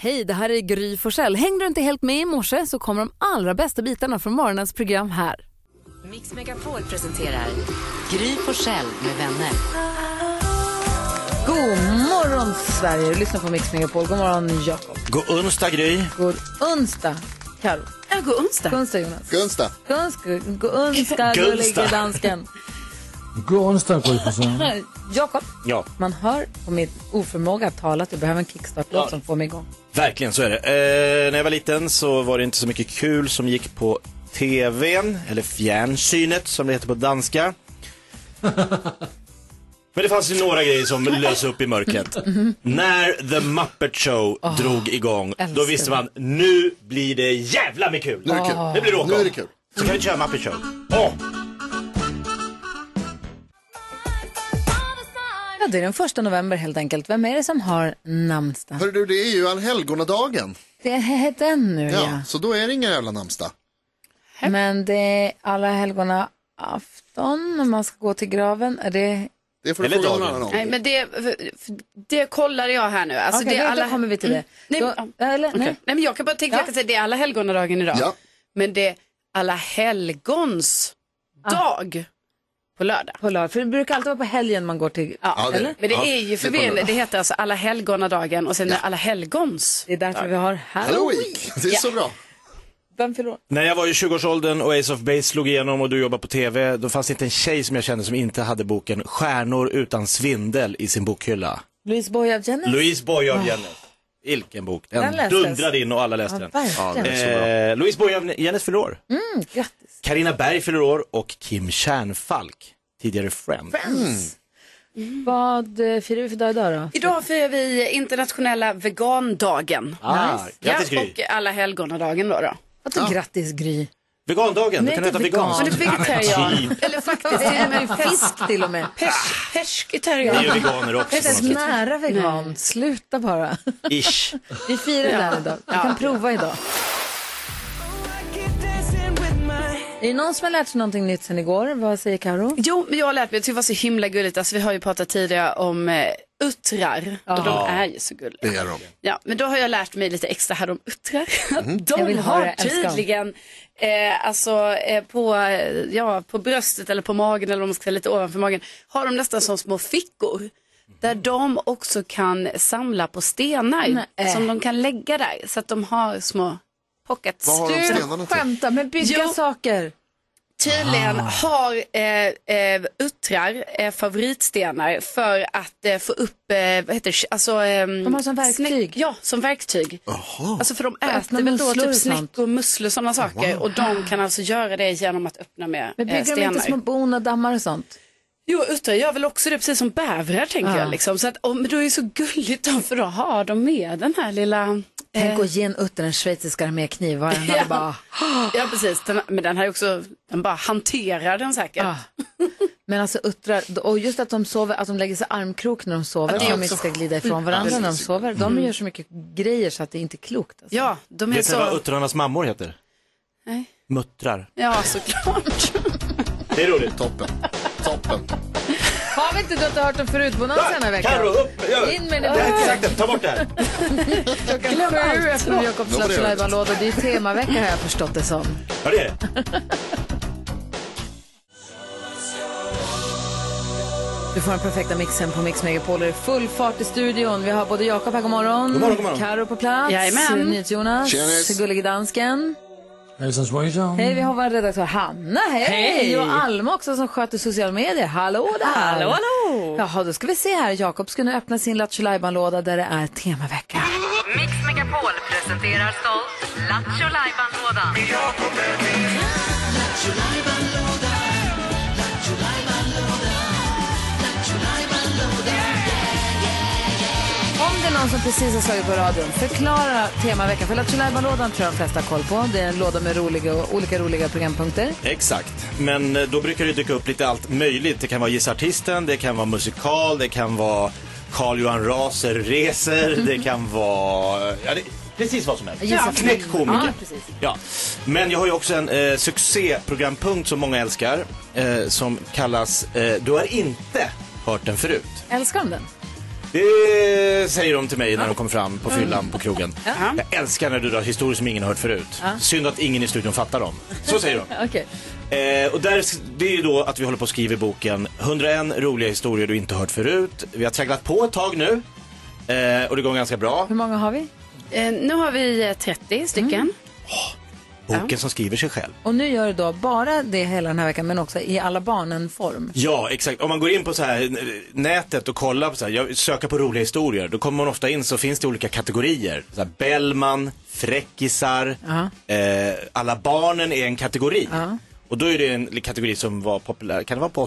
Hej, det här är Gry Forssell. Hängde du inte helt med i morse så kommer de allra bästa bitarna från morgonens program här. Mix Megapol presenterar Gry Forssell med vänner. God morgon Sverige, du lyssnar på Mix Megapol. God morgon Jakob. God onsdag Gry. God onsdag Karo. Ja, god onsdag. God onsdag Jonas. Gunsta. Gunska, god onsdag gullige Gunsta. dansken. God onsdag, Gry Forssell. Nej, Jakob, Ja, man hör på min oförmåga att tala att du behöver en kickstart-låt som får mig igång. verkligen så är det. Eh, när jag var liten så var det inte så mycket kul som gick på TVn, eller fjärnsynet som det heter på danska. Men det fanns ju några grejer som lös upp i mörkret. Mm-hmm. När The Muppet Show drog igång, då älskar visste man nu blir det jävla med kul. Nu är det kul. Det blir rock Nu är on. det kul. Så kan vi köra Muppet Show. Åh! Ja, det är den första november helt enkelt. Vem är det som har namnsdag? Hör du, det är ju allhelgonadagen. Det är den nu Ja, ja. Så då är det inga jävla namnsdag. Men det är alla helgona afton om man ska gå till graven. Är det... Det får du Eller fråga någon dagen. annan om. Nej, men det, det kollar jag här nu. Alltså, Okej, det är då- alla... då kommer vi till det. Nej, Då, äh, eller, nej. Nej, men jag kan bara tänka, jag kan säga det är alla helgonadagen idag. Ja. Men det är alla helgons Ah. dag på lördag. På lördag. För det brukar alltid vara på helgen man går till... Ja, det är det. Men det Ja, är ju det är på lördag. förvirrande. Det heter alltså alla helgonadagen och sen är det alla helgons. Det är därför vi har Halloween. Halloween. Det är så bra. Vem förlorar? När jag var i 20-årsåldern och Ace of Base slog igenom och du jobbade på TV, då fanns det inte en tjej som jag kände som inte hade boken Stjärnor utan svindel i sin bokhylla. Louise Boye av Jenny? Louise Boye av Jennis. Vilken bok. Den Den lästes. dundrade in och alla läste Ja, den. verkligen. den är så bra. Eh, Louise Boye av Jennis fyller år. Mm, grattis. Carina Berg fyller år och Kim Kärnfalk, tidigare Friend. Vad eh, firar vi för dag idag då? Idag firar vi internationella vegandagen. Ah, Grattis ja, Gry. och alla helgonadagen då. då. Vadå grattis Gry? Vegandagen, Nej, du kan inte äta vegan. veganskt. Men du är vegetarian. Ja, men typ. Eller faktiskt, Det är ju fisk till och med. pers- Ni är ju perskitarian. veganer också. på något Inte ens sätt. nära vegan. Sluta bara. Ish. Vi firar det här idag. Vi kan prova idag. Är det någon som har lärt sig någonting nytt sen igår? Vad säger Karo? Jo, men jag har lärt mig, jag tycker det var så himla gulligt, alltså vi har ju pratat tidigare om eh, uttrar och de är ju så gulliga. Det är de. Ja, men då har jag lärt mig lite extra här om uttrar. Mhm. Jag vill De höra, har jag älskar dem. tydligen, eh, alltså eh, på, eh, ja, på bröstet eller på magen eller om man ska säga lite ovanför magen, har de nästan som små fickor. Där de också kan samla på stenar Nej. som de kan lägga där. Så att de har små pockets. Vad har de stenarna till? Skämta, men bygga Jo. saker. Ah. Tydligen har eh, eh, uttrar eh, favoritstenar för att eh, få upp, eh, vad heter det, alltså, ehm, De har som verktyg. snäck- ja, som verktyg. Alltså för de äter väl då musslor och typ sånt. snäckor, musslor och sådana saker och de kan alltså göra det genom att öppna med Men bygger eh, de stenar. inte små bon och dammar och sånt? Jo, uttrar gör väl också det precis som bävrar tänker Ja. jag liksom. Så att, och, men då är det så gulligt då, för då har de med den här lilla eh, Tänk att ge en utter en schweizisk armékniv. Vad den Ja. hade bara... Ja precis, den, men den här är också, den bara hanterar den säkert. Ja. Men alltså uttrar, och just att de, sover, att de lägger sig armkrok när de sover, Ja, det för är att de inte också ska glida ifrån varandra när de sover. Mm. De gör så mycket grejer så att det inte är klokt. Alltså. Ja, de är Vet ni vad så, uttrarnas mammor heter? Nej. Muttrar. ja såklart. Det är roligt. Toppen. Toppen. Har vi inte du inte hört dem förut på någon senare vecka? Karo, upp! Gör. In med det. Det här, exakt, ta bort det här. Glöm allt. Efter Jakobs Då får det göra det. Lattjo-lajban-låda. Det är temavecka har jag förstått det som. Ja, det är det. Du får den perfekta mixen på Mix Megapol. Det är full fart i studion. Vi har både Jakob här, god morgon. God morgon, god morgon. Karo på plats. Jajamän. NyhetsJonas. Tjenis. Gullige dansken. Hejsan svejsan. Hej, vi har vår redaktör Hanna, hej! Hej! Och Alma också som sköter sociala medier. Hallå där! Hallå, hallå! Jaha, då ska vi se här. Jakob ska nu öppna sin Lattjo låda där det är temavecka. Mix Megapol presenterar stolt Lattjo Lajban-lådan. Om det är någon som precis har slagit på radion, förklara temaveckan. För Lattjo lådan tror jag de flesta har koll på. Det är en låda med roliga, olika roliga programpunkter. Exakt, men eh, då brukar det dyka upp lite allt möjligt. Det kan vara Gissa Artisten, det kan vara musikal, det kan vara Carl-Johan Raser reser, det kan vara... eh, Ja, det... Precis vad som helst. Mhm. Gissa Ja, film. Knäckkomiker. Ja, precis. Ja. Men jag har ju också en eh, succéprogrampunkt som många älskar eh, som kallas eh, Du har inte hört den förut. Älskar de den? Det säger de till mig när de kommer fram på fyllan på krogen. Jag älskar när du drar historier som ingen har hört förut. Synd att ingen i studion fattar dem. Så säger de. Okej. Eh, och där, det är ju då att vi håller på att skriva i boken 101 roliga historier du inte hört förut. Vi har tragglat på ett tag nu eh, och det går ganska bra. Hur många har vi? Eh, nu har vi eh, 30 stycken. Boken som skriver sig själv. Och nu gör du då bara det hela den här veckan men också i alla barnen-form. Ja, exakt. Om man går in på så här eh, nätet och kollar på så här, jag söker på roliga historier, då kommer man ofta in så finns det olika kategorier. Så här, Bellman, fräckisar, eh, alla barnen är en kategori. Och då är det en kategori som var populär, kan det vara på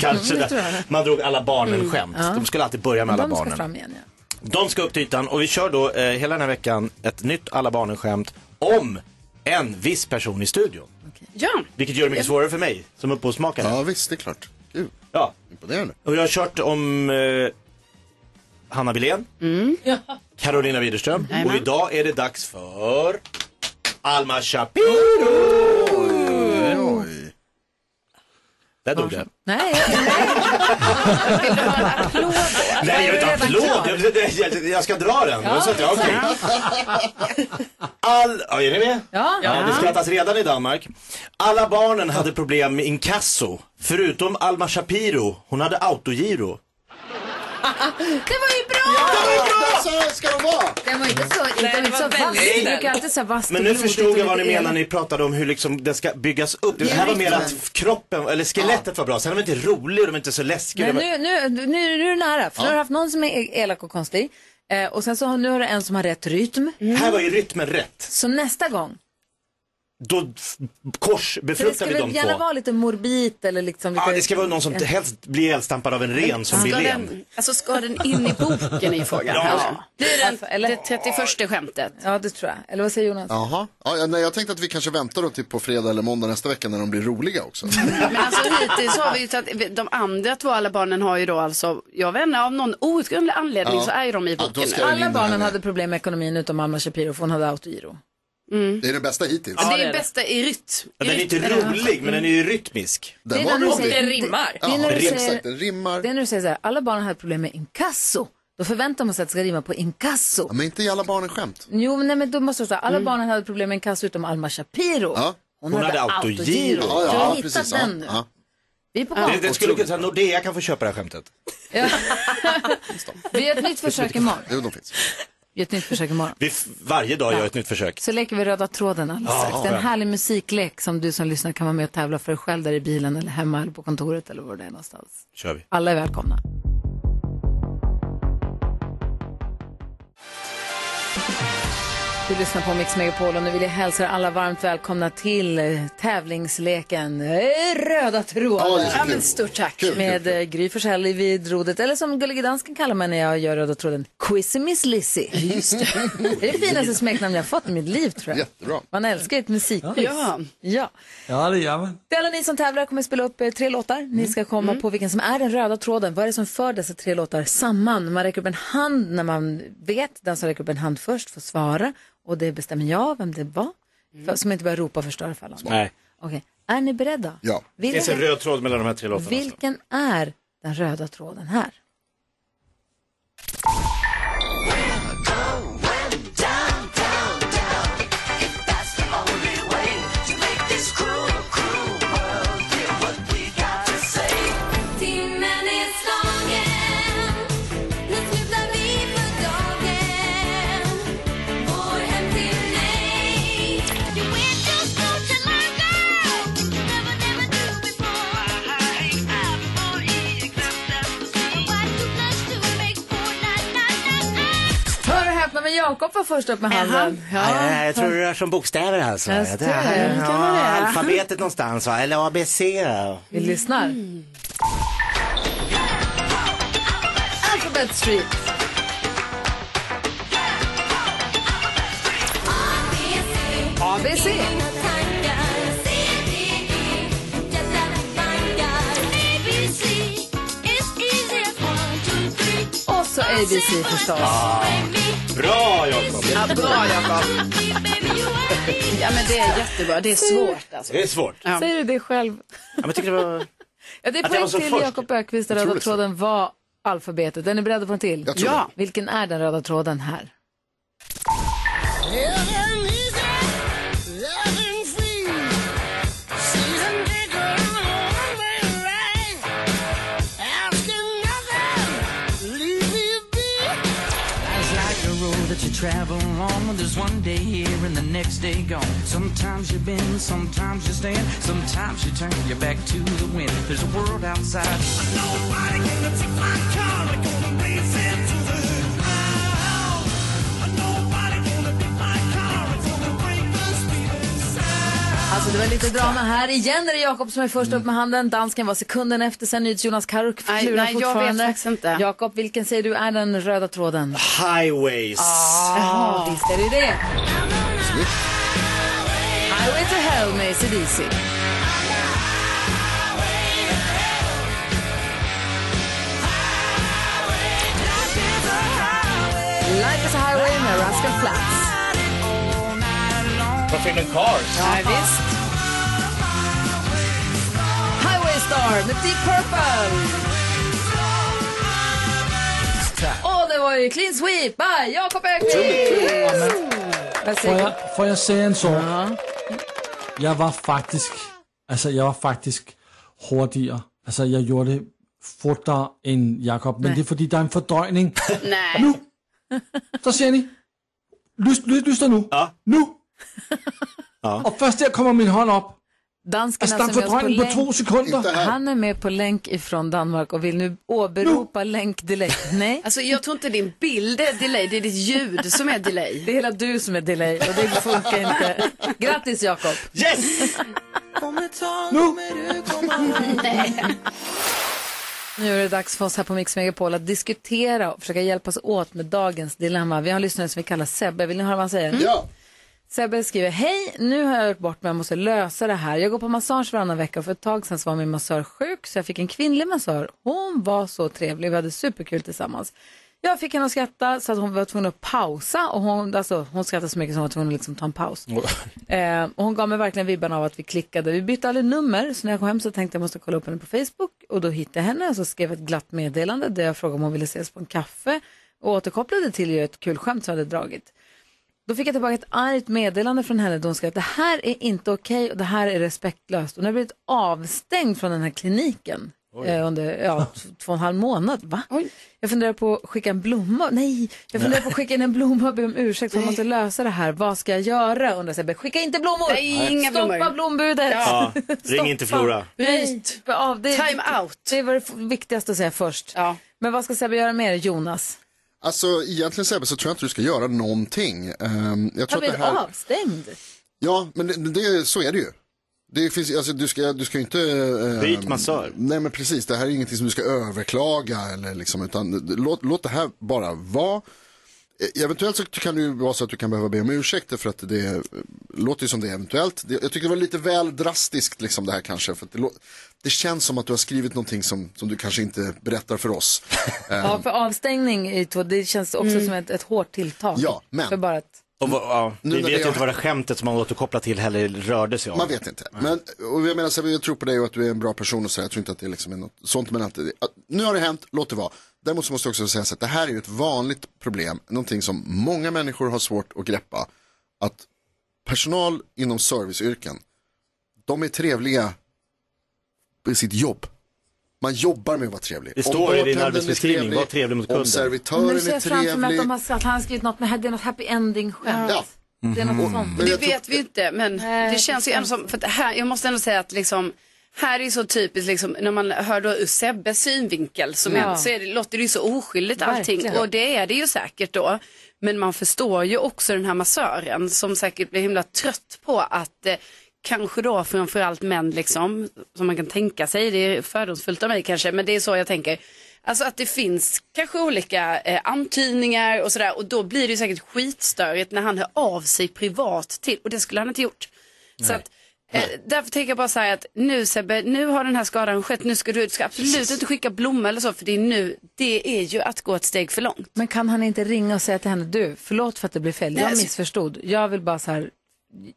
kanske? det Där. tror jag. Man drog alla barnen-skämt. De skulle alltid börja med alla De ska barnen. fram igen, ja. De ska upp till ytan och vi kör då eh, hela den här veckan ett nytt Alla barnen-skämt om en viss person i studion. Ja. Vilket gör det mycket svårare för mig som upphovsmakare. Ja, visst, det är klart. Gud, Ja. imponerande. Och jag har kört om eh, Hanna Wilén, Carolina Widerström och idag är det dags för Alma Shapiro. Oj. Där dog det. Nej, Nej, jag vill inte ha applåd. Jag, jag, jag- jag ska dra den. Ja, så att, jag- okej. All, ja, är ni med? Ja. Det skrattas redan i Danmark. Alla barnen hade problem med inkasso. Förutom Alma Shapiro. Hon hade autogiro. det var ju bra! Så här ska det vara! Den var inte så, den var inte så vass. Du brukar alltid säga vass. Men och nu blodig förstod och jag vad ni lite el. menar när ni pratade om hur liksom det ska byggas upp. Det här var mer att kroppen, eller skelettet var bra. Sen var de inte roliga och de var inte så läskiga. Nej, De var- nu, nu, nu, nu är du nära. För nu har du haft någon som är elak och konstig. Eh, och sen så har, nu har du en som har rätt rytm. Här var ju rytmen rätt. Så nästa gång. Då f- För det korsbefruktar ska vi de väl gärna två. vara lite morbid eller liksom lite... Ja, det ska vara någon som helst blir eldstampad av en ren som Ska Wilén. den, alltså ska den in i boken i frågan? Ja. Blir den Alltså, eller- det 31 skämtet? Ja, det tror jag. Eller vad säger Jonas? Jaha. Ja, ja, nej, jag tänkte att vi kanske väntar då till på fredag eller måndag nästa vecka när de blir roliga också. Mm. Men alltså hittills har vi ju tagit, de andra två alla barnen har ju då alltså, jag vet inte, av någon outgrundlig anledning Ja. så är ju de i Ja, då boken. nu. ska jag in Alla här barnen nu. hade problem med ekonomin utom Alma Shapiro för hon hade autogiro. Det är det bästa hittills. Alltså, det är det är ju det. bästa i rytm. Den är inte rolig, men den är ju rytmisk. Den när var du rolig. säger- Den rimmar. Det är när Ja, du rim- säger- exakt, den rimmar. det är när du säger så här, alla barnen hade problem med inkasso. Då förväntar man sig att det ska rimma på inkasso. Ja, men inte i alla barnen skämt. Jo, men, nej, men då måste du säga, alla barnen hade problem med inkasso utom Alma Shapiro. Ja. Hon, Hon hade, hade autogiro. autogiro. Ja, du har ja, hittat precis. Ja, den nu. ja. Vi är på Det, gång. det skulle kunna säga Nordea kan få köpa det här skämtet. Vi gör ett nytt försök imorgon. Jo, de finns. Vi gör ett nytt försök imorgon. Vi f- varje dag gör ett nytt försök. Så leker vi röda tråden alldeles strax. Det är en härlig musiklek som du som lyssnar kan vara med och tävla för själv där i bilen eller hemma eller på kontoret eller var det är någonstans. Kör vi. Alla är välkomna. Du lyssnar på Mix Megapol och nu vill jag hälsa er alla varmt välkomna till eh, tävlingsleken eh, Röda Ja, det tråden. är så Ja, kul. men stort tack. Kul, kul, Med kul. eh, Gry Forssell vid rodret, eller som Gullige Dansken kallar mig när jag gör Röda tråden, Quizzimis Lizzy. det är det finaste smeknamn jag har fått i mitt liv tror jag. Jättebra. Man älskar ju ett musikquiz. Ja. ja. Ja, det gör man. Det är alla ni som tävlar Jag kommer spela upp eh, tre låtar. Ni ska komma på vilken som är den röda tråden. Vad är det som för dessa tre låtar samman? Man räcker upp en hand när man vet. Den som räcker upp en hand först får svara. Och det bestämmer jag vem det var. För, så man inte börjar ropa och förstöra för alla andra. Nej. Okej, är ni beredda? Ja. Det finns en Vilken, röd tråd mellan de här tre låtarna. alltså. vilken är den röda tråden här? Timmen är slagen Nu slutar vi för dagen Går hem till mig You will just go to like Never, never knew before I have for example What to flash to make for night, night, night, night Hör och häpna, men Jakob var först upp med handen. Nej, nej, jag tror det rör sig om bokstäver alltså. Just det, det ja, alfabetet någonstans va? Eller ABC. va? Vi lyssnar. Alphabet Street. ABC. Mina tankar C, D, E Hjärtat bankar ABC It's easy as one, two, three Och så ABC förstås. Bra Jakob! Ja, bra Jakob. Ja men det är jättebra, det är svårt alltså. Det är svårt. Ja, Säger du det själv? men jag tycker det var... Ja, det är Att jag poäng var så till först. Jakob Ökvist. Den röda tråden var alfabetet. Är ni beredda på en till? Jag tror Ja. Vilken är den röda tråden här? Alltså det var lite drama här. Igen är det Jakob som är först Mm. upp med handen. Dansken var sekunden efter sen NyhetsJonas Karro Nej, klurar nej, jag fortfarande. vet faktiskt inte. Jakob, vilken säger du är den röda tråden? Highways. Ah. Ja, visst är det det. Highway to hell med ACDC. Life is a highway med Rascal Flatts. Från filmen Cars. Ja, visst. Highway Star med Deep Purple. Och det var ju Clean Sweep by Jakob Öqvist. Vad Får säger du? jeg, får jeg sige en så? Jeg var faktisk, altså jeg var faktisk hurtigere. Altså jeg gjorde det fortere end Jakob, men det er fordi, der er en fordøjning. Nej. Nu! Så siger I, lyst, lyst, lyster nu. Ja. Nu! Og først der kommer min hånd op. Dansken Altså är der er en alltså med fordøjning oss på på länk. to sekunder. Inte här. Han är med på länk ifrån Danmark och vill nu åberopa länk delay. Nej, Alltså jag tror inte din bild är delay, det är ditt ljud som är delay. det är hela du som är delay och det funkar inte. Grattis Jakob. Yes! Nu! Nu är det dags för oss här på Mix Megapol att diskutera och försöka hjälpas åt med dagens dilemma. Vi har en lyssnare som vi kallar Sebbe. Vill ni höra vad han säger? Ja. Sebbe skriver, hej, nu har jag gjort bort mig, jag måste lösa det här. Jag går på massage varannan vecka och för ett tag sedan så var min massör sjuk så jag fick en kvinnlig massör. Hon var så trevlig, vi hade superkul tillsammans. Jag fick henne att skratta så att hon var tvungen att pausa och hon, alltså, hon skrattade så mycket så hon var tvungen att liksom ta en paus. Eh, och hon gav mig verkligen vibban av att vi klickade. Vi bytte aldrig nummer, så när jag kom hem så tänkte jag måste kolla upp henne på Facebook. Och då hittade jag henne och så skrev jag ett glatt meddelande där jag frågade om hon ville ses på en kaffe. Och återkopplade till ju ett kul skämt som jag hade dragit. Då fick jag tillbaka ett argt meddelande från henne där hon skrev att det här är inte okej och det här är respektlöst. Och nu har jag blivit avstängd från den här kliniken eh, under ja, t- två och en halv månad. Va? Jag funderar på att skicka en blomma. Nej, jag funderar på att skicka in en blomma och be om ursäkt för jag måste lösa det här. Vad ska jag göra? Undrar Sebbe. Skicka inte blommor! Nej, inga Stoppa blommor. blombudet! Ja, ring inte Flora. Bryt. Stoppa Av. Det, Time out. det var det f- viktigaste att säga först. Ja. Men vad ska Sebbe göra mer, Jonas? Alltså egentligen Sebbe så tror jag inte du ska göra någonting. Ehm, jag Han tror att det blev här... avstängd. Ja, men det, det, så är det ju. Det finns, alltså, du, ska, du ska ju inte... eh, Byt massör. Nej men precis, det här är ingenting som du ska överklaga eller liksom, utan låt, låt det här bara vara. Eh, Eventuellt så kan det ju vara så att du kan behöva be om ursäkt för att det eh, låter ju som det är eventuellt. Det, jag tycker det var lite väl drastiskt liksom det här kanske. För att det, lå- det känns som att du har skrivit någonting som, som du kanske inte berättar för oss. Eh, Ja, för avstängning i två, det känns också som ett, ett hårt tilltag. Mm. Ja, men- För bara att, Och, vad- ja, Nu när vi vet jag- ju inte vad det skämtet som man återkopplar till heller rörde sig om. Man vet inte. Men, och jag menar, så här, jag tror på dig och att du är en bra person och så. här. Jag tror inte att det liksom är något sånt. Men att, det- att, nu har det hänt, låt det vara. Däremot så måste jag också säga så att det här är ju ett vanligt problem. Någonting som många människor har svårt att greppa. Att personal inom serviceyrken, de är trevliga i sitt jobb. Man jobbar med att vara trevlig. Det Om står i din bartendern är arbetsbeskrivning, var trevlig mot Om kunden. servitören nu ser är jag framför mig att, trevlig. de har, att han har skrivit något, med, det är något happy ending-skämt. Ja. Mm. Mm. Det är något sånt. Men Det jag tror- vet vi inte, men det känns ju ändå som, för att här, jag måste ändå säga att liksom, här är så typiskt liksom, när man hör då ur Sebbes synvinkel som är, så är det, låter det ju så oskyldigt allting Verkligen. och det är det ju säkert då. Men man förstår ju också den här massören som säkert blir himla trött på att eh, Kanske då framförallt män liksom, som man kan tänka sig, det är fördomsfullt av mig kanske, men det är så jag tänker. Alltså att det finns kanske olika eh, antydningar och sådär och då blir det ju säkert skitstörigt när han hör av sig privat till och det skulle han inte gjort. Så att, eh, därför tänker jag bara säga att nu Sebbe, nu har den här skadan skett, nu ska du, du ska absolut inte skicka blommor eller så för det är nu, det är ju att gå ett steg för långt. Men kan han inte ringa och säga till henne, du, förlåt för att det blev fel, jag Nej, så- missförstod, jag vill bara så här,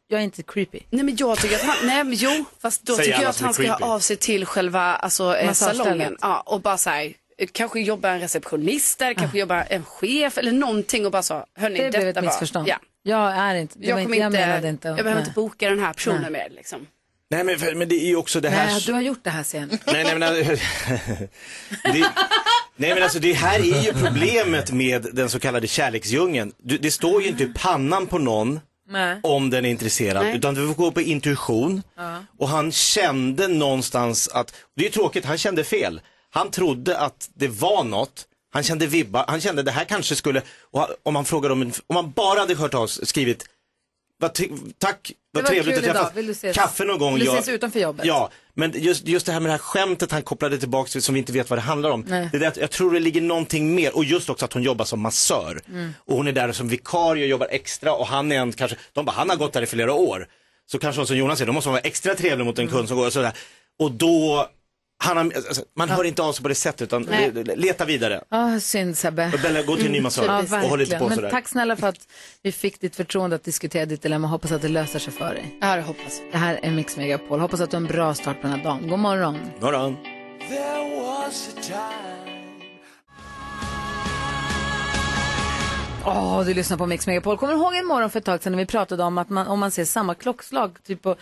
jag är inte creepy. Nej men jag tycker att han, nej men jo, fast då Säg tycker alla jag att som är han ska creepy. höra av sig till själva alltså, eh, Massagestället. salongen ja, och bara så här, eh, kanske jobbar en receptionist där, kanske jobbar en chef eller någonting och bara sa, hörni, Det blev detta ett var- missförstånd. Ja. Jag är inte, det var Jag, inte, kommer jag inte, menade inte. jag behöver nej. inte boka den här personen Nej. mer. Liksom. Nej men, för, men det är ju också det här. Nej, du har gjort det här sen. Nej, nej, men, alltså, det, nej men alltså det här är ju problemet med den så kallade kärleksdjungeln. Du, det står ju inte i pannan på någon Nej. om den är intresserad utan du får gå på intuition. Och han kände någonstans att, det är ju tråkigt, han kände fel. Han trodde att det var något. Han kände vibbar, han kände det här kanske skulle, och om man frågade om, en- om man bara hade hört av skrivit vad ty- tack, vad var trevligt kul att idag. träffas. Vill du ses- Kaffe någon gång. vill du ja. ses utanför jobbet? Ja, men just, just det här med det här skämtet han kopplade tillbaka till som vi inte vet vad det handlar om. Nej. Det är det att jag tror det ligger någonting mer och just också att hon jobbar som massör. Mm. Och hon är där som vikarie och jobbar extra och han är en kanske, de bara han har gått där i flera år. Så kanske hon som Jonas säger, då måste man vara extra trevlig mot en Mm. kund som går och sådär. Och då, han har, alltså, man hör inte av sig på det sättet utan le- leta vidare. Ja, synd Sebbe. Och Bella, gå till en ny massör Ja, och håll inte verkligen. på Men sådär. tack snälla för att vi fick ditt förtroende att diskutera ditt dilemma. Hoppas att det löser sig för dig. Ja, det hoppas jag. Det här är Mix Megapol. Hoppas att du har en bra start på den här dagen. God morgon. Morgon. Åh, du lyssnar på Mix Megapol. Kommer du ihåg en morgon för ett tag sedan när vi pratade om att man, om man ser samma klockslag? Typ på,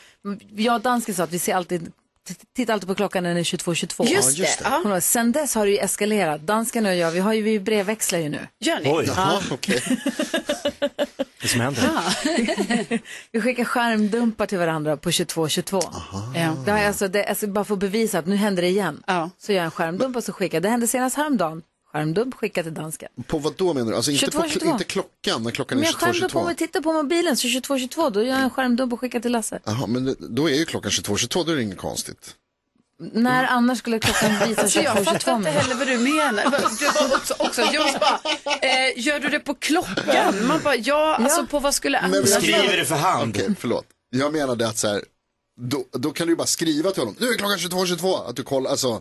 jag och dansken sa att vi ser alltid, t- tittar alltid på klockan när den är 22.22. Just, det. Ja. Kommer du ihåg? Sen dess har det ju eskalerat. Dansken och jag, vi, har ju, vi brevväxlar ju nu. Gör ni? Oj, Jaha, okej. det som händer. Vi skickar skärmdumpar till varandra på 22.22. Ja. Det här, är alltså, det, alltså, bara för att bevisa att nu händer det igen. Ja. Så gör jag en skärmdump och så skickar. Det hände senast häromdagen. Skärmdump skicka till dansken. På vad då menar du? Alltså inte, 22, på, 22. inte klockan, när klockan Men är jag 22, skärmdumpar om vi tittar på mobilen så 22.22 då gör jag en skärmdump och skickar till Lasse. Jaha, men det- då är ju klockan 22, 22, då är det inget konstigt. När annars skulle klockan visa Så jag fattar 22.22? inte men- heller vad du menar. Du bara också, också, jag måste bara, eh, gör du det på klockan? Man bara, ja, alltså på vad skulle Men vi- annars Skriver det för hand. Okej, förlåt. Jag menade att så här, då, då kan du ju bara skriva till honom, nu är klockan 22, 22, att du kollar, alltså,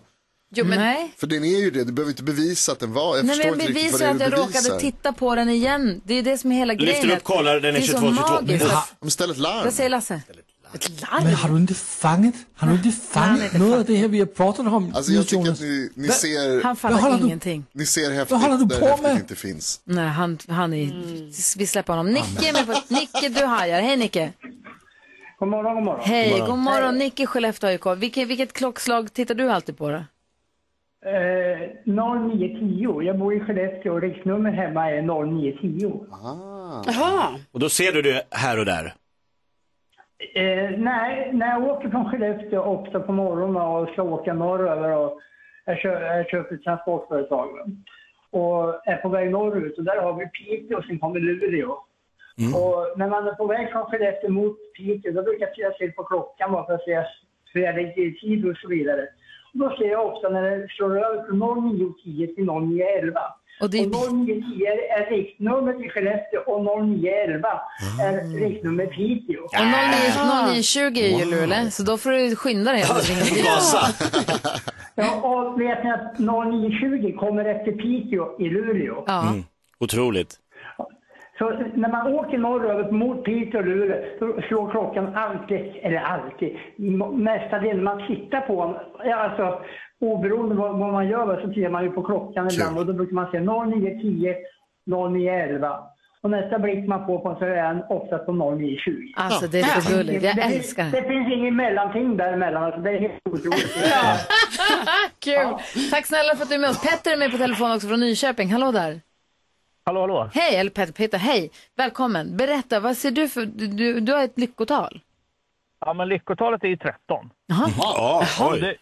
Jo, men Nej. för den är ju det, du behöver inte bevisa att den var, Nej, jag men förstår jag inte riktigt vad bevisar det är att du jag bevisar. råkade titta på den igen. Det är ju det som är hela grejen. Lyfter upp, kollar, den är Det så 22.22. magiskt att- De ställer ett larm. Vad säger Lasse? Ett larm? Men har du inte fanget, har du inte nej, fanget det något fattar av det här vi har pratat om? Alltså jag Nils tycker Jonas? att ni, ni Va- ser, Han Vad håller fattar du- ingenting. ni ser häftigt håller du där på häftigt med? inte finns. Nej, han, han är... Vi släpper honom. Nicke är med på... Nicke, du hajar. Hej, Nicke. God morgon, god morgon. Hej, god morgon. Nicke Skellefteå AIK. Vilket, vilket klockslag tittar du alltid på då? Eh, 0910. Jag bor i Skellefteå och riksnummer hemma är 0910. jaha. Och då ser du det här och där. Eh, nej, när jag åker från Skellefteå också på morgonen och ska åka norröver och jag, kö- jag köper ett transportföretag va. och är på väg norrut och där har vi Piteå och sen kommer Luleå. Och när man är på väg från Skellefteå mot Piteå då brukar jag titta till på klockan bara för att se hur jag ligger i tid och så vidare. Och då ser jag ofta när det slår över från 09.10 till 09.11. Och Och det är- 09.10 är riktnumret i Skellefteå och 09.11 Ah. är riktnummer Piteå. Och 09- 0920 är ju Luleå, så då får du skynda dig. om du ringer dit. Gasa. Ja, och vet ni att 0920 kommer efter Piteå i Luleå. Ja. Otroligt. Så när man åker norröver mot Piteå och Luleå, då slår klockan alltid, eller alltid, m- mestadels man tittar på den. Ja, Alltså, oberoende vad, vad man gör va, så tittar man ju på klockan ibland och då brukar man se 0910, 0911. Och nästa blick man får på så är den oftast på 0920. Alltså det är så gulligt. Jag älskar det. det. Det finns inget mellanting däremellan. Alltså, det är helt otroligt. Kul! Tack snälla för att du är med oss. Petter är med på telefon också från Nyköping. Hallå där! Hallå, hallå. Hej, eller Petter, Peter, hej! Välkommen. Berätta, vad ser du för... Du, du, du har ett lyckotal. Ja, men lyckotalet är ju 13. Ja, Och oj. det,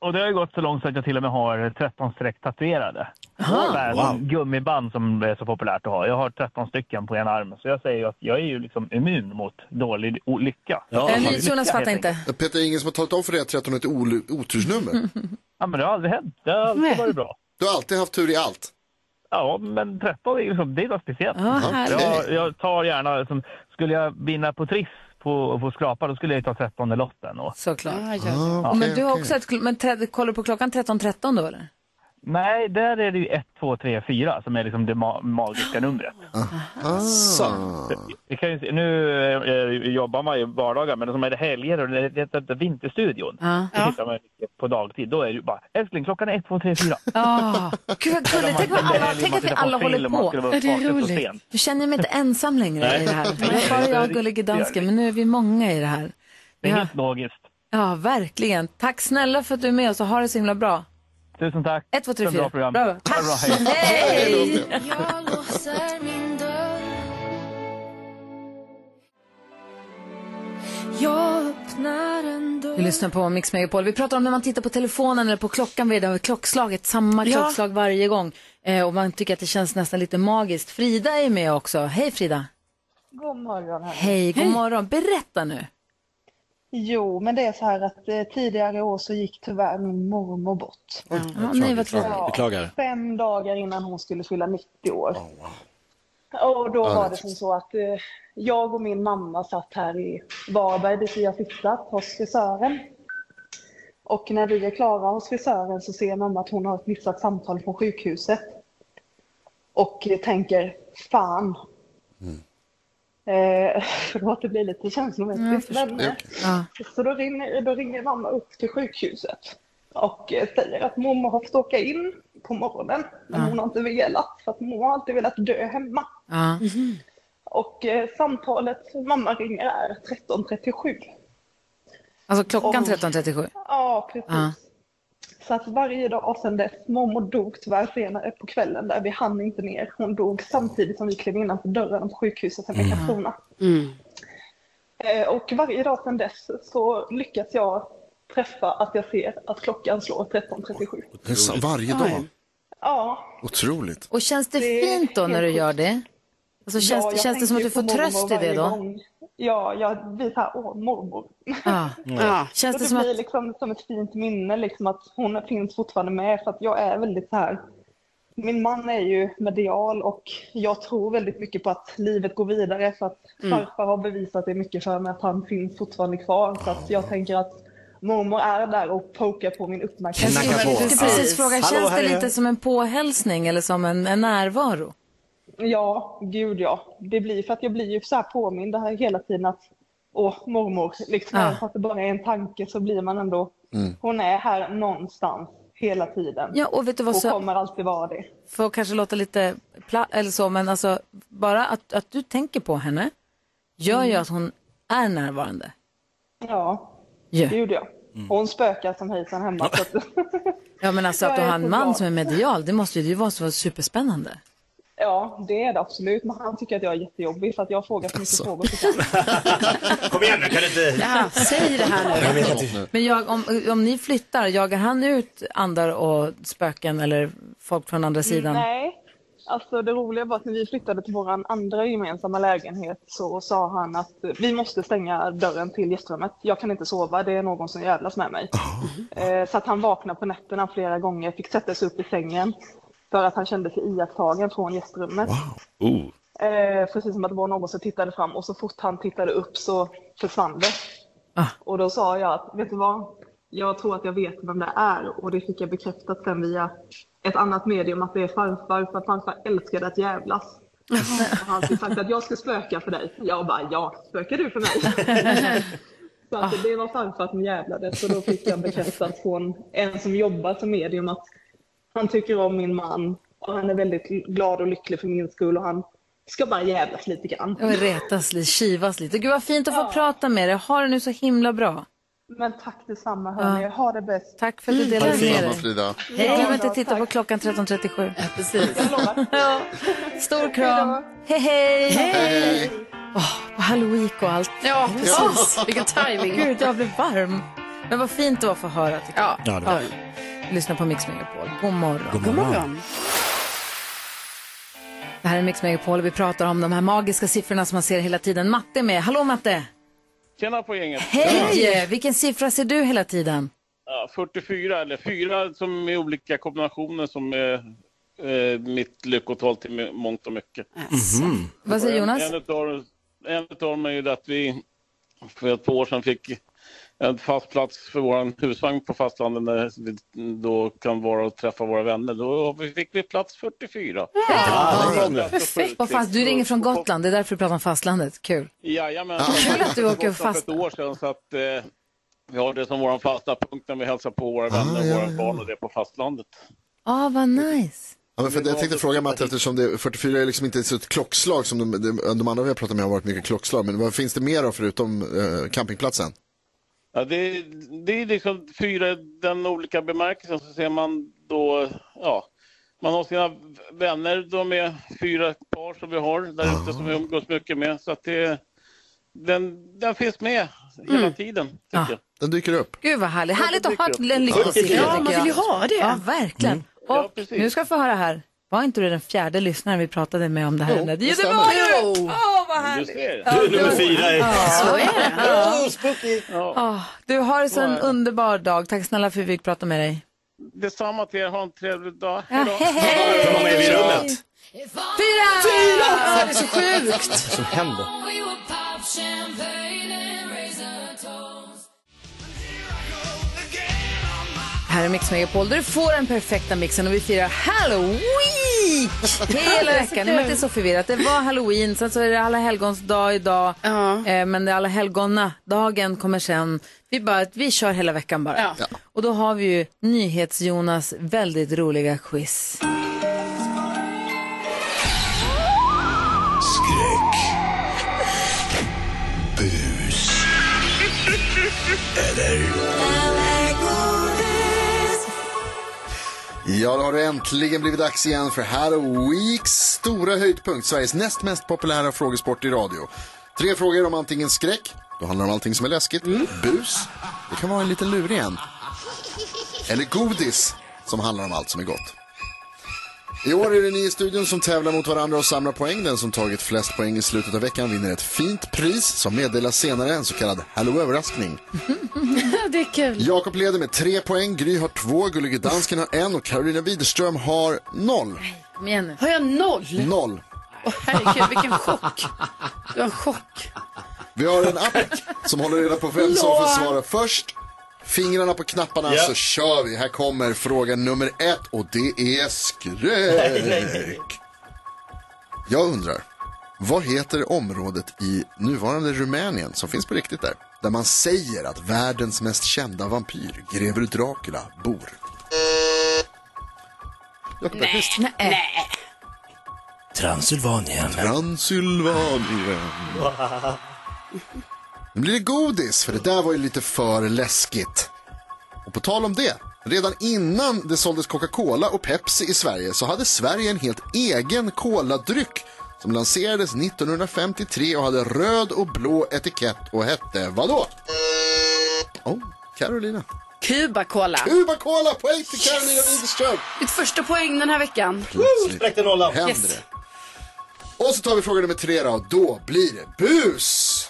och det har ju gått så långt så att jag till och med har 13 streck tatuerade. Så här, Wow. som Gummiband som det är så populärt att ha. Jag har 13 stycken på ena armen. Så jag säger ju att jag är ju liksom immun mot dålig o- lycka. Ja. Eh, Nils Jonas lycka, fattar helt inte. Peter, det är ingen som har talat om för dig att 13 är ett ol- otursnummer. Ja, men det har aldrig hänt. Det har alltid varit bra. Du har alltid haft tur i allt. Ja, men 13 är ju liksom, det är något speciellt. Ja, härligt. Jag, jag tar gärna, liksom, skulle jag vinna på Triss på, på skrapa, då skulle jag ju ta 13 lotten. Och, Såklart. Ja, ja. Ah, Och men okej, du har okej. också ett... kl- Men tre- kollar du på klockan 13.13 då eller? Nej, där är det ju 1, 2, 3, 4 som är liksom det ma- magiska numret. Så. Vi kan ju se, nu eh, jobbar man ju vardagar, men som är det helger och det det heter Vinterstudion. Ja. Det hittar man mycket på dagtid. Då är det ju bara älskling, klockan är 1, 2, 3, 4. Oh, gud vad gulligt. Tänk, vad alla, tänk att vi alla håller på. Ja, det är roligt. Nu känner jag mig inte ensam längre i det här. Det var bara jag och gullige dansken, men nu är vi många i det här. Det är Ja, helt logiskt. ja verkligen. Tack snälla för att du är med oss och ha det så himla bra. Tusen tack. Ett, två, tre, För ett fyra. bra program. Bra. Tack. Ha det bra, hej. Hej! Jag låser min dörr Jag öppnar en dörr Du lyssnar på Mix Megapol. Vi pratar om när man tittar på telefonen eller på klockan vid det här klockslaget, samma klockslag varje gång. Eh, och man tycker att det känns nästan lite magiskt. Frida är med också. Hej Frida! God morgon. hörni. Hej, god morgon. Berätta nu. Jo, men det är så här att eh, tidigare i år så gick tyvärr min mormor bort. Ja, nej, vad tråkigt. Ja, Beklagar. Fem dagar innan hon skulle fylla 90 år. Och då var det som så att eh, jag och min mamma satt här i Varberg dit vi har flyttat hos frisören. Och när vi är klara hos frisören så ser mamma att hon har ett missat samtal från sjukhuset. Och eh, tänker, fan. Eh, förlåt, det blir lite känslomässigt. men, eh, Ja. så då ringer, då ringer mamma upp till sjukhuset och eh, säger att mormor har fått åka in på morgonen, men hon har inte velat för att mormor har alltid velat dö hemma. Ja. Och eh, samtalet mamma ringer är 13.37. Alltså klockan 13.37. Ja, precis. Ja. Så att varje dag sedan dess, mormor dog tyvärr senare på kvällen där, vi hann inte ner. Hon dog samtidigt som vi klev innanför dörren på sjukhuset hemma i Mm. Karlskrona. Eh, Och varje dag sedan dess så lyckas jag träffa att jag ser att klockan slår 13.37. Det är så- Varje dag. Ja, Otroligt. Och känns det Det är fint då när du helt gör det? Alltså, känns, ja, det, jag känns det som att tänker du får på mormor tröst i det varje då? gång. Ja, jag blir såhär, åh mormor. Ja. Ja. Känns Och det det som att... blir liksom som ett fint minne, liksom att hon finns fortfarande med. För att jag är väldigt så här, min man är ju medial och jag tror väldigt mycket på att livet går vidare. För att farfar har bevisat det mycket för mig, att han finns fortfarande kvar. Så att jag tänker att mormor är där och pokar på min Jag uppmärksamhet. Knacka på. skulle jag skulle precis fråga, Hallå, känns här det är jag. lite som en påhälsning eller som en, en närvaro? Ja, gud ja. Det blir för att jag blir ju så här påmind det här hela tiden att åh, mormor, liksom Ja. även fast det bara är en tanke så blir man ändå, hon är här någonstans hela tiden. Ja, och vet du vad och så... kommer alltid vara det. för att kanske låta lite pla- eller så, men alltså bara att, att du tänker på henne gör Mm. ju att hon är närvarande. Ja, Ju. det gjorde jag. Och hon spökar som hejsan hemma. Så att, Ja, men alltså att Jag du är har en så man glad. som är medial, det måste ju vara så superspännande. ja, det är det absolut. Men han tycker att jag är jättejobbig för att jag frågar så mycket frågor. Så kan. Kom igen nu, kan du inte... Ja, säg det här nu. Jag vet inte. Men jag, om, om ni flyttar, jagar han ut andar och spöken eller folk från andra sidan? Nej, alltså det roliga var att när vi flyttade till vår andra gemensamma lägenhet så sa han att eh, vi måste stänga dörren till gästrummet. Jag kan inte sova, det är någon som jävlas med mig. Eh, Så att han vaknade på nätterna flera gånger, fick sätta sig upp i sängen för att han kände sig iakttagen från gästrummet. Oh. Eh, precis som att det var någon som tittade fram och så fort han tittade upp så försvann det. Ah. Och då sa jag att, vet du vad? Jag tror att jag vet vem det är och det fick jag bekräftat sen via ett annat medium att det är farfar för att farfar älskade att jävlas. Och han hade sagt att jag ska spöka för dig. Jag bara, ja, spökar du för mig? så att det var farfar som jävlades så då fick jag bekräftat från en som jobbar som medium att han tycker om min man och han är väldigt glad och lycklig för min skull och han ska bara jävlas lite grann. Och retas lite, kivas lite. Gud vad fint att få prata med dig. Ha det nu så himla bra. Men tack detsamma hörni, Ja. ha det bäst. Tack för att du Ha delade det med fint, dig. Frida. Hej, glöm inte att titta på klockan 13.37. Precis. Jag lovar. Stor kram. Hej, hej! Hej. Och Halloween och allt. Ja, precis. Vilken timing. Gud, jag blev varm. Men vad fint det var för att få höra. tycker jag. Ja. Ja, det var det. Lyssna på Mix Megapol. God morgon. God morgon. Det här är Mix Megapol och vi pratar om de här magiska siffrorna som man ser hela tiden. Matte är med. Hallå Matte! Tjena på gänget. Hej! Vilken siffra ser du hela tiden? Ja, 44 eller 4 som är olika kombinationer som är eh, mitt lyckotal till m- mångt och mycket. Vad säger Jonas? En, en, utav, en utav dem är ju det att vi för ett par år sedan fick en fast plats för vår husvagn på fastlandet när vi då kan vara och träffa våra vänner. Då fick vi plats 44. Ja, där kom det. Vad fast, du ringer från Gotland, det är därför du pratar om fastlandet. Kul. Jajamän. Kul att du åker Jag var fast. För ett år sedan så att eh, vi har det som vår fasta punkt när vi hälsar på våra vänner och våra barn och det på fastlandet. Ja, vad nice. Ja, men för att jag tänkte fråga Matte, eftersom det, 44 är liksom inte ett sånt klockslag som de, de, de andra vi har pratat med har varit mycket klockslag, men vad finns det mer då förutom eh, campingplatsen? Ja, det, det är liksom fyra, den olika bemärkelsen, så ser man då, ja, man har sina vänner, de är fyra par som vi har där ute som vi umgås mycket med. Så att det, den, den finns med hela Mm. tiden, tycker jag. Den dyker upp. Gud vad härligt. Härligt att ha en Ja, lyckosiffra. Ja, tycker man jag. vill ju ha det. Ja, verkligen. Och nu ska vi få höra här. Var inte du den fjärde lyssnaren vi pratade med om det här? Jo, ämnet? det Jo, det stämmer. var du! Jo. Åh, vad härligt. Du är nummer fyra. i- Så är det. Oh, spooky. Åh, du har så en underbar dag. Tack snälla för att vi fick prata med dig. Detsamma till er, ha en trevlig dag. Ja, hej, hej. Hur många är vi i rummet? Fyra! Fyra! Det är så sjukt. Vad som händer? Här är Mix Megapol där du får den perfekta mixen och vi firar Halloween hela veckan. Nej, men det är så förvirrat. Det var Halloween, sen så är det alla helgons dag idag. Ja. Eh, men det är alla helgonna dagen kommer sen. Vi, bara, vi kör hela veckan bara. Ja. Och då har vi ju NyhetsJonas väldigt roliga quiz. Skräck. Bus. Eller Ja, då har det äntligen blivit dags igen för Hello Weeks stora höjdpunkt, Sveriges näst mest populära frågesport i radio. Tre frågor om antingen skräck, då handlar det om allting som är läskigt, bus, det kan vara en liten lurig en, eller godis, som handlar om allt som är gott. I år är det ni i studion som tävlar mot varandra och samlar poäng. Den som tagit flest poäng i slutet av veckan vinner ett fint pris som meddelas senare, en så kallad Hello-överraskning. Det är kul. Jakob leder med tre poäng, Gry har två, Gullige Dansken har en och Karolina Widerström har noll. Kom igen nu. Har jag noll? Noll. Åh herregud, vilken chock. Det var en chock. Vi har en app som håller reda på vem som får svara först. Fingrarna på knapparna så kör vi. Här kommer fråga nummer ett och det är skräck. Jag undrar, vad heter området i nuvarande Rumänien som finns på riktigt där? Där man säger att världens mest kända vampyr, grever Dracula, bor. Jakob Bergqvist. Nej. Transylvanien. Transylvanien. Nu blir det godis, för det där var ju lite för läskigt. Och på tal om det, redan innan det såldes Coca-Cola och Pepsi i Sverige så hade Sverige en helt egen koladryck som lanserades 1953 och hade röd och blå etikett och hette vadå? Oh, Carolina. Kuba Cola. Cuba Cola, poäng till Carolina Widerström. Mitt första poäng den här veckan. Spräckte nollan. händer Yes. det. Och så tar vi fråga nummer tre då, och då blir det bus.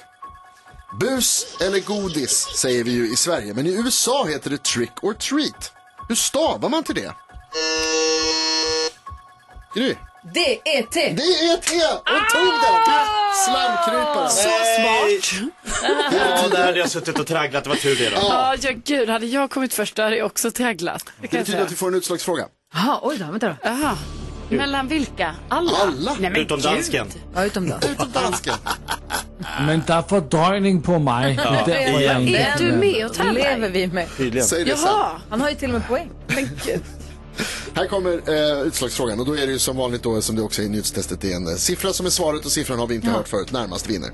Bus eller godis säger vi ju i Sverige, men i USA heter det trick or treat. Hur stavar man till det? Gry? D-E-T. Det är ett E! Hon tog Ah! den! Slamkrypare. smart. Ja, där hade jag suttit och tragglat. Det var tur det då. Ja, ja gud, hade jag kommit först då hade jag också tragglat. Det Det kan jag betyder säga. att vi får en utslagsfråga. Jaha, oj då, vänta då. Aha. Mellan vilka? Alla? Alla. Nej, men Utom gud. dansken. Ja, utom då. Utom dansken. Men der er fordøjning på mig. Det er derfor, jeg ikke Är du med och tävlar? lever vi med. Tydligen. Säg det sen. Jaha. Han har ju till och med poäng. Här kommer eh, utslagsfrågan och då är det ju som vanligt då som det också är i nyhetstestet. Det är en eh, siffra som är svaret och siffran har vi inte hört förut. Närmast vinner.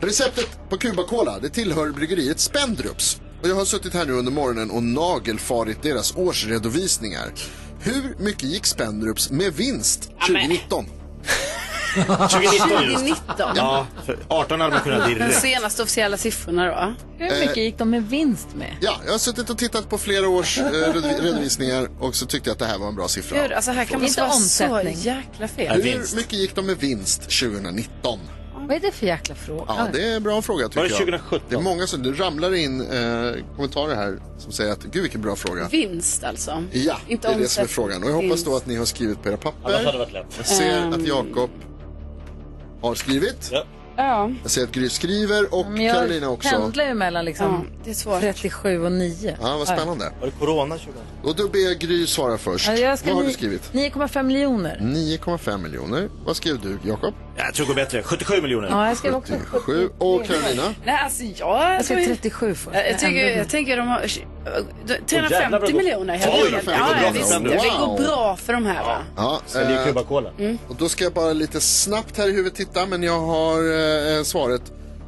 Receptet på Cubacola det tillhör bryggeriet Spendrups. Och jag har suttit här nu under morgonen och nagelfarit deras årsredovisningar. Hur mycket gick Spendrups med vinst 2019? 2019 just. 2019. Ja, för 18 hade man kunnat De direkt. senaste officiella siffrorna då? Hur mycket gick de med vinst med? Ja, jag har suttit och tittat på flera års eh, redovi- redovisningar och så tyckte jag att det här var en bra siffra. Gud, alltså här kan Det är man inte svara så omsättning. jäkla fel. Nej, Hur vinst. mycket gick de med vinst 2019? Vad är det för jäkla fråga? Ja, det är en bra fråga tycker Var det jag. 2017? Det är många som, det ramlar in eh, kommentarer här som säger att gud vilken bra fråga. Vinst alltså. Ja, Inte det är det som är omsättning. frågan. Och jag hoppas då att ni har skrivit på era papper. Ehm. varit lätt. Jag ser att Jakob har skrivit. Ja. Ja. Jag ser att Gry skriver och Men Mm, jag Carolina också. pendlar ju mellan liksom Ja, det är svårt. 37 och 9. Ja, vad spännande. Var det corona 2000? Och då ber jag Gry svara först. Ja, jag ska vad har ni- du skrivit? 9,5 miljoner. 9,5 miljoner. Vad skrev du, Jakob? Jag tror det går bättre. 77 miljoner. Ja, jag skrev också 77. Och Carolina? Nej, alltså jag... Jag skrev 37 först. Jag, jag, tycker, jag tänker de har... jävlar, 350 vad- miljoner helt Oj, enkelt. det går Ja, bra ja, för visst. dem. Det går Wow. bra för de här va? Ja, Säljer eh, Cuba-cola. och då ska jag bara lite snabbt här i huvudet titta, men jag har eh, svaret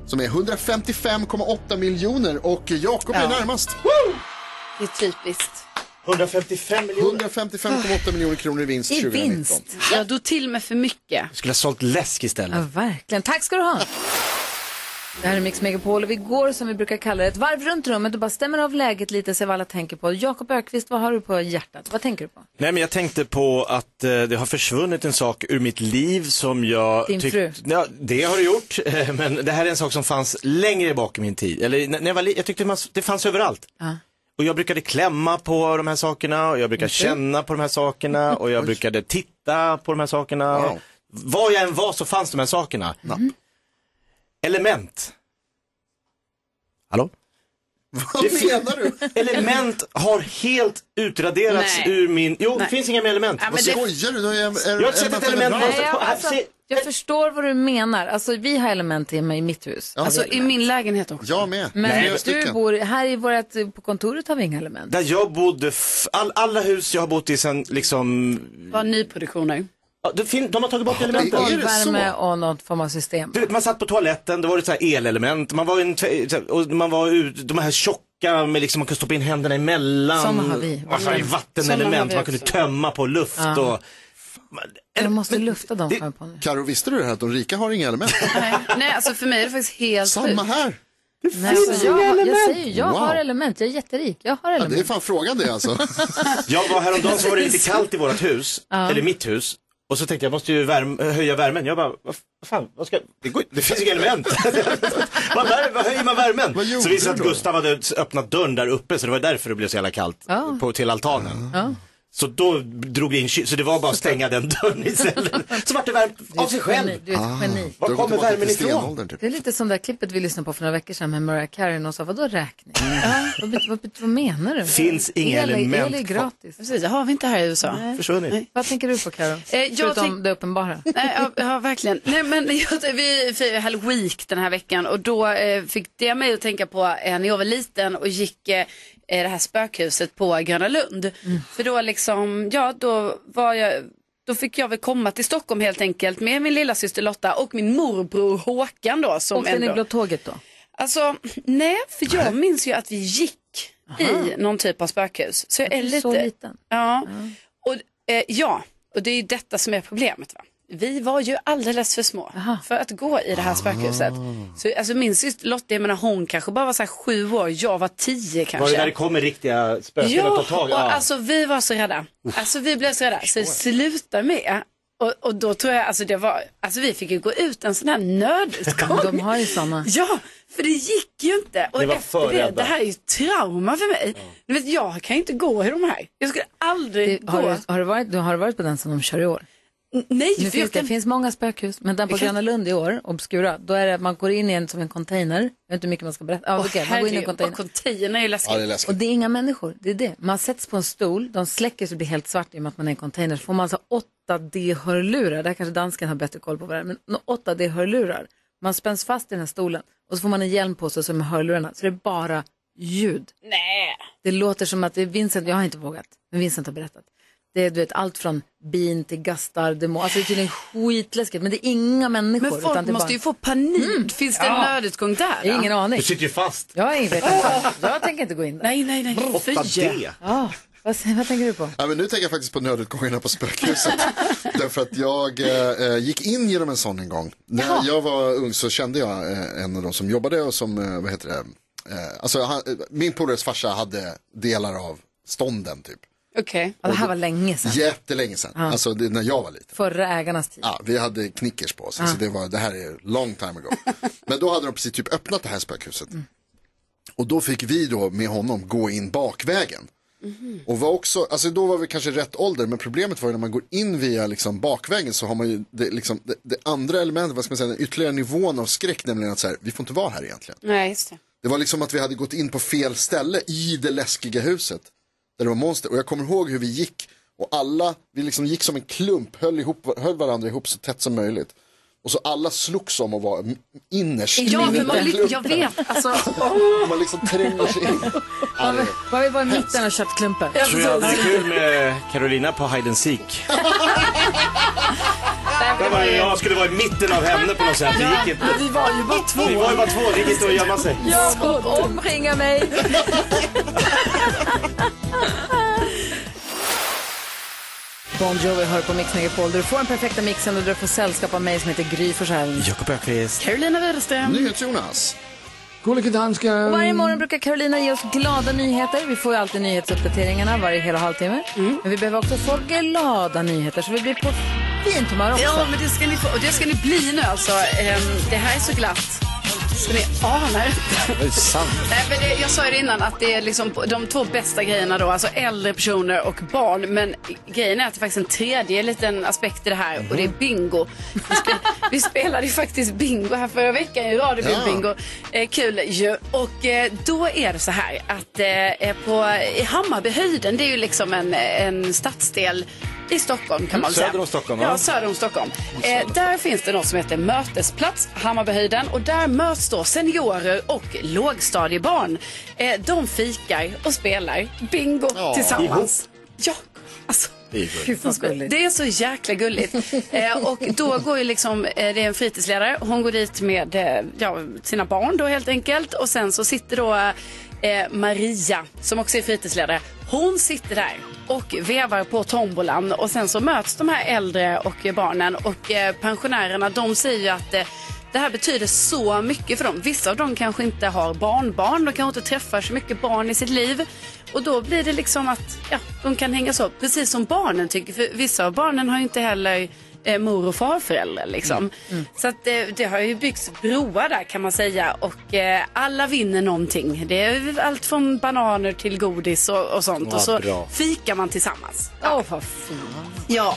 som är 155,8 miljoner och Jakob är närmast. Det är typiskt. 155 miljoner. 155,8 miljoner kronor i vinst I 2019. vinst. Jag drog till med för mycket. Jag skulle ha sålt läsk istället. Ja, verkligen. Tack ska du ha. Det här är Mix Megapol och vi går som vi brukar kalla det ett varv runt rummet och bara stämmer av läget lite, ser vad alla tänker på. Jakob Ökvist, vad har du på hjärtat? Vad tänker du på? Nej, men jag tänkte på att eh, det har försvunnit en sak ur mitt liv som jag... Din tyck- fru. Ja, det har det gjort. eh, Men det här är en sak som fanns längre bak i min tid. Eller när när jag var li- jag tyckte man, det fanns överallt. Och jag brukade klämma på de här sakerna och jag brukade känna på de här sakerna och jag brukade titta på de här sakerna. Wow. Var jag än var så fanns de här sakerna. Mm. Element. Hallå? Vad menar du? Element har helt utraderats Nej. ur min... Jo, det finns inga mer element. Ja, men det, Skojar du? Du har ju- är- Jag har inte sett ett är- element bra. Nej, jag, alltså, se- jag förstår vad du menar. Alltså, vi har element hemma i mitt hus. alltså i min lägenhet också. Jag med. Men Flera du stycken. bor här i vårt, på kontoret har vi inga element. Där jag bodde, f- all, alla hus jag har bott i sen liksom, Var nyproduktioner. ja, det fin- de har tagit bort det är- elementen. det så? Golvvärme och någon form av system. Du vet, man satt på toaletten, då var det så här elelement, man var, i en tve- så här- och man var ut, de här tjocka, med liksom, man kunde stoppa in händerna emellan. Såna har vi. Alltså, det är Såna har vattenelement, vi man kunde också. tömma på luft och... Man- Jag eller- måste lufta dem det- kommer jag på nu. Karo, visste du det här att de rika har inga element? Nej, nej, alltså för mig är det faktiskt helt Samma sjukt. här. Nej, alltså, jag, har- jag säger ju, jag Wow. har element, jag är jätterik. Jag har Ja, det är element. fan frågan det alltså. Jag var häromdagen så var det lite kallt i vårt hus, eller mitt hus. Och så tänkte jag, jag måste ju värm- höja värmen. Jag bara, vad f- vad fan, vad ska, det, går, det finns inga element. man vär, vad höjer man värmen? Vad gjorde så visade du att då? Gustav hade öppnat dörren där uppe, så det var därför det blev så jävla kallt Ja. på, till altanen. Så då drog det in kyl, så det var bara att stänga den dörren istället. Så vart det varmt av sig själv. Du är ett geni. Du har Var gått kommer tillbaka värmen till ifrån? stenåldern, typ. Det är lite som det här klippet vi lyssnade på för några veckor sedan med Mariah Carey. Någon sa, vadå räkning? vad, bet- vad, bet- vad menar du? Finns inga el, är- element El är kvar. gratis. Precis, det har vi inte här i USA. Nej, Försvunnit. Vad tänker du på Karo? jag Förutom tänk- det uppenbara. ja, ja, verkligen. Nej, men jag, vi firar Hell Week den här veckan och då eh, fick det mig att tänka på eh, när jag var liten och gick eh, i det här spökhuset på Gröna Lund. För då liksom, ja då var jag då fick jag väl komma till Stockholm helt enkelt med min lilla syster Lotta och min morbror Håkan då. Som Åkte ni ändå... blå tåget då? Alltså, nej, för jag minns ju att vi gick i någon typ av spökhus. Så jag är Du är lite... så liten. Ja. Och, eh, ja, och det är ju detta som är problemet. Va? Vi var ju alldeles för små för att gå i det här spökhuset. Ah. Så, alltså, min syster Lotta, jag menar, hon kanske bara var så här sju år, jag var tio kanske. Var det där det kommer riktiga spöken att Ja, ta tag i? Ah. och Ja. alltså vi var så rädda. Alltså vi blev så rädda så det slutade med. Och, och då tror jag, alltså det var, alltså vi fick ju gå ut en sån här nödutgång. De har ju sådana. Ja, för det gick ju inte. Och Ni var efter för det, rädda. det här är ju trauma för mig. Du vet, jag kan ju inte gå i de här. Jag skulle aldrig Det- gå. Har du, har, du varit, du har du varit på den som de kör i år? N- Nej, Nu för finns, jag det kan... finns många spökhus, men den på Jag kan- Gröna Lund i år, Obscura, då är det att man går in i en som en container. Jag vet inte hur mycket man ska berätta. Ja, Åh, okej, man går in i en herregud, bara container. containern är ju läskigt. Ja, det är Och läskigt. det är inga människor, det är det. Man sätts på en stol, de släcker så det blir helt svart i och med att man är i en container. Så får man alltså 8D-hörlurar, där kanske dansken har bättre koll på vad det är, men 8D-hörlurar. Man spänns fast i den här stolen och så får man en hjälm på sig som med hörlurarna, så det är bara ljud. Nej. Det låter som att det är Vincent, jag har inte vågat, men Vincent har berättat. Det är du vet, allt från bin till gastar, demon, alltså det är tydligen skitläskigt, men det är inga människor. Men folk utan det måste är bara... ju få panik. Finns det en nödutgång där? Jag har ingen aning. Du sitter ju fast. Jag, har ingen... jag tänker inte gå in där. Nej, nej, nej. Fy. 8D. Ja, vad, säger- vad tänker du på? Ja, men nu tänker jag faktiskt på nödutgångarna på spökhuset. Därför att jag eh, eh, gick in genom en sån en gång. När jag var ung så kände jag eh, en av de som jobbade och som, eh, vad heter det, eh, alltså han, eh, min polares farsa hade delar av stånden typ. Okej. Ja, det här var länge sedan. Jättelänge sedan, alltså det, när jag var liten. Förra ägarnas tid. Ja, vi hade knickers på oss, så det, var, det här är long time ago. Men då hade de precis typ öppnat det här spökhuset. Och då fick vi då med honom gå in bakvägen. Och var också, alltså då var vi kanske i rätt ålder, men problemet var ju när man går in via liksom bakvägen så har man ju det, liksom, det, det andra elementet, vad ska man säga, den ytterligare nivån av skräck, nämligen att så här, vi får inte vara här egentligen. Nej, just det. Det var liksom att vi hade gått in på fel ställe i det läskiga huset. Där det var monster. Och jag kommer ihåg hur vi gick. Och alla, vi liksom gick som en klump, höll, ihop, höll varandra ihop så tätt som möjligt. Och så alla slogs om att vara m- innerst. Ja, i för den man där vill, jag klumpen. vet, alltså. Man liksom tränger sig in. Man vill- Man vill vara i mitten av köttklumpen. Tror jag hade kul med Carolina på Hide and Seek. Där var ju- jag skulle vara i mitten av henne på något sätt. Det gick inte. Vi var ju bara två. Vi var ju bara två, det gick inte att gömma sig. Och omringa mig. Bon Jovi hör på Mix Megapol. Du får den perfekta mixen och du får sällskap av mig som heter Gry Forssell. Jakob Öqvist. Carolina Widerström. NyhetsJonas. Gullige danska. Varje morgon brukar Carolina ge oss glada nyheter. Vi får ju alltid nyhetsuppdateringarna varje hel och halvtimme. Men vi behöver också få glada nyheter så vi blir på fint humör också. Ja, men det ska ni få. Och det ska ni bli nu alltså. Ehm, det här är så glatt. Så ni anar inte. Det är sant. Nej, men det, jag sa ju det innan att det är liksom de två bästa grejerna då, alltså äldre personer och barn. Men grejen är att det är faktiskt en tredje liten aspekt i det här och det är bingo. Vi, spe, vi spelade ju faktiskt bingo här förra veckan i Ja. radiobingo. Eh, kul ju. Och eh, då är det så här att eh, på, i Hammarbyhöjden, det är ju liksom en, en stadsdel i Stockholm kan man söder säga. om Stockholm, Ja, va? söder om Stockholm. Eh, där finns det något som heter Mötesplats, Hammarbyhöjden. Och där möts då seniorer och lågstadiebarn. Eh, de fikar och spelar bingo tillsammans. Ja, alltså. Gud vad gulligt. Det är så jäkla gulligt. eh, och då går ju liksom, eh, det är en fritidsledare, hon går dit med eh, ja, sina barn då helt enkelt. Och sen så sitter då eh, Maria, som också är fritidsledare, hon sitter där och vevar på tombolan. Och sen så möts de här äldre och eh, barnen och eh, pensionärerna, de säger ju att eh, det här betyder så mycket för dem. Vissa av dem kanske inte har barnbarn, de kanske inte träffar så mycket barn i sitt liv. Och då blir det liksom att ja, de kan hängas upp, precis som barnen tycker. För vissa av barnen har ju inte heller eh, mor och farföräldrar. Liksom. Så att, eh, det har ju byggts broar där kan man säga. Och eh, alla vinner någonting. Det är ju allt från bananer till godis och, och sånt. och så bra. fikar man tillsammans. Åh, vad fint. Ja.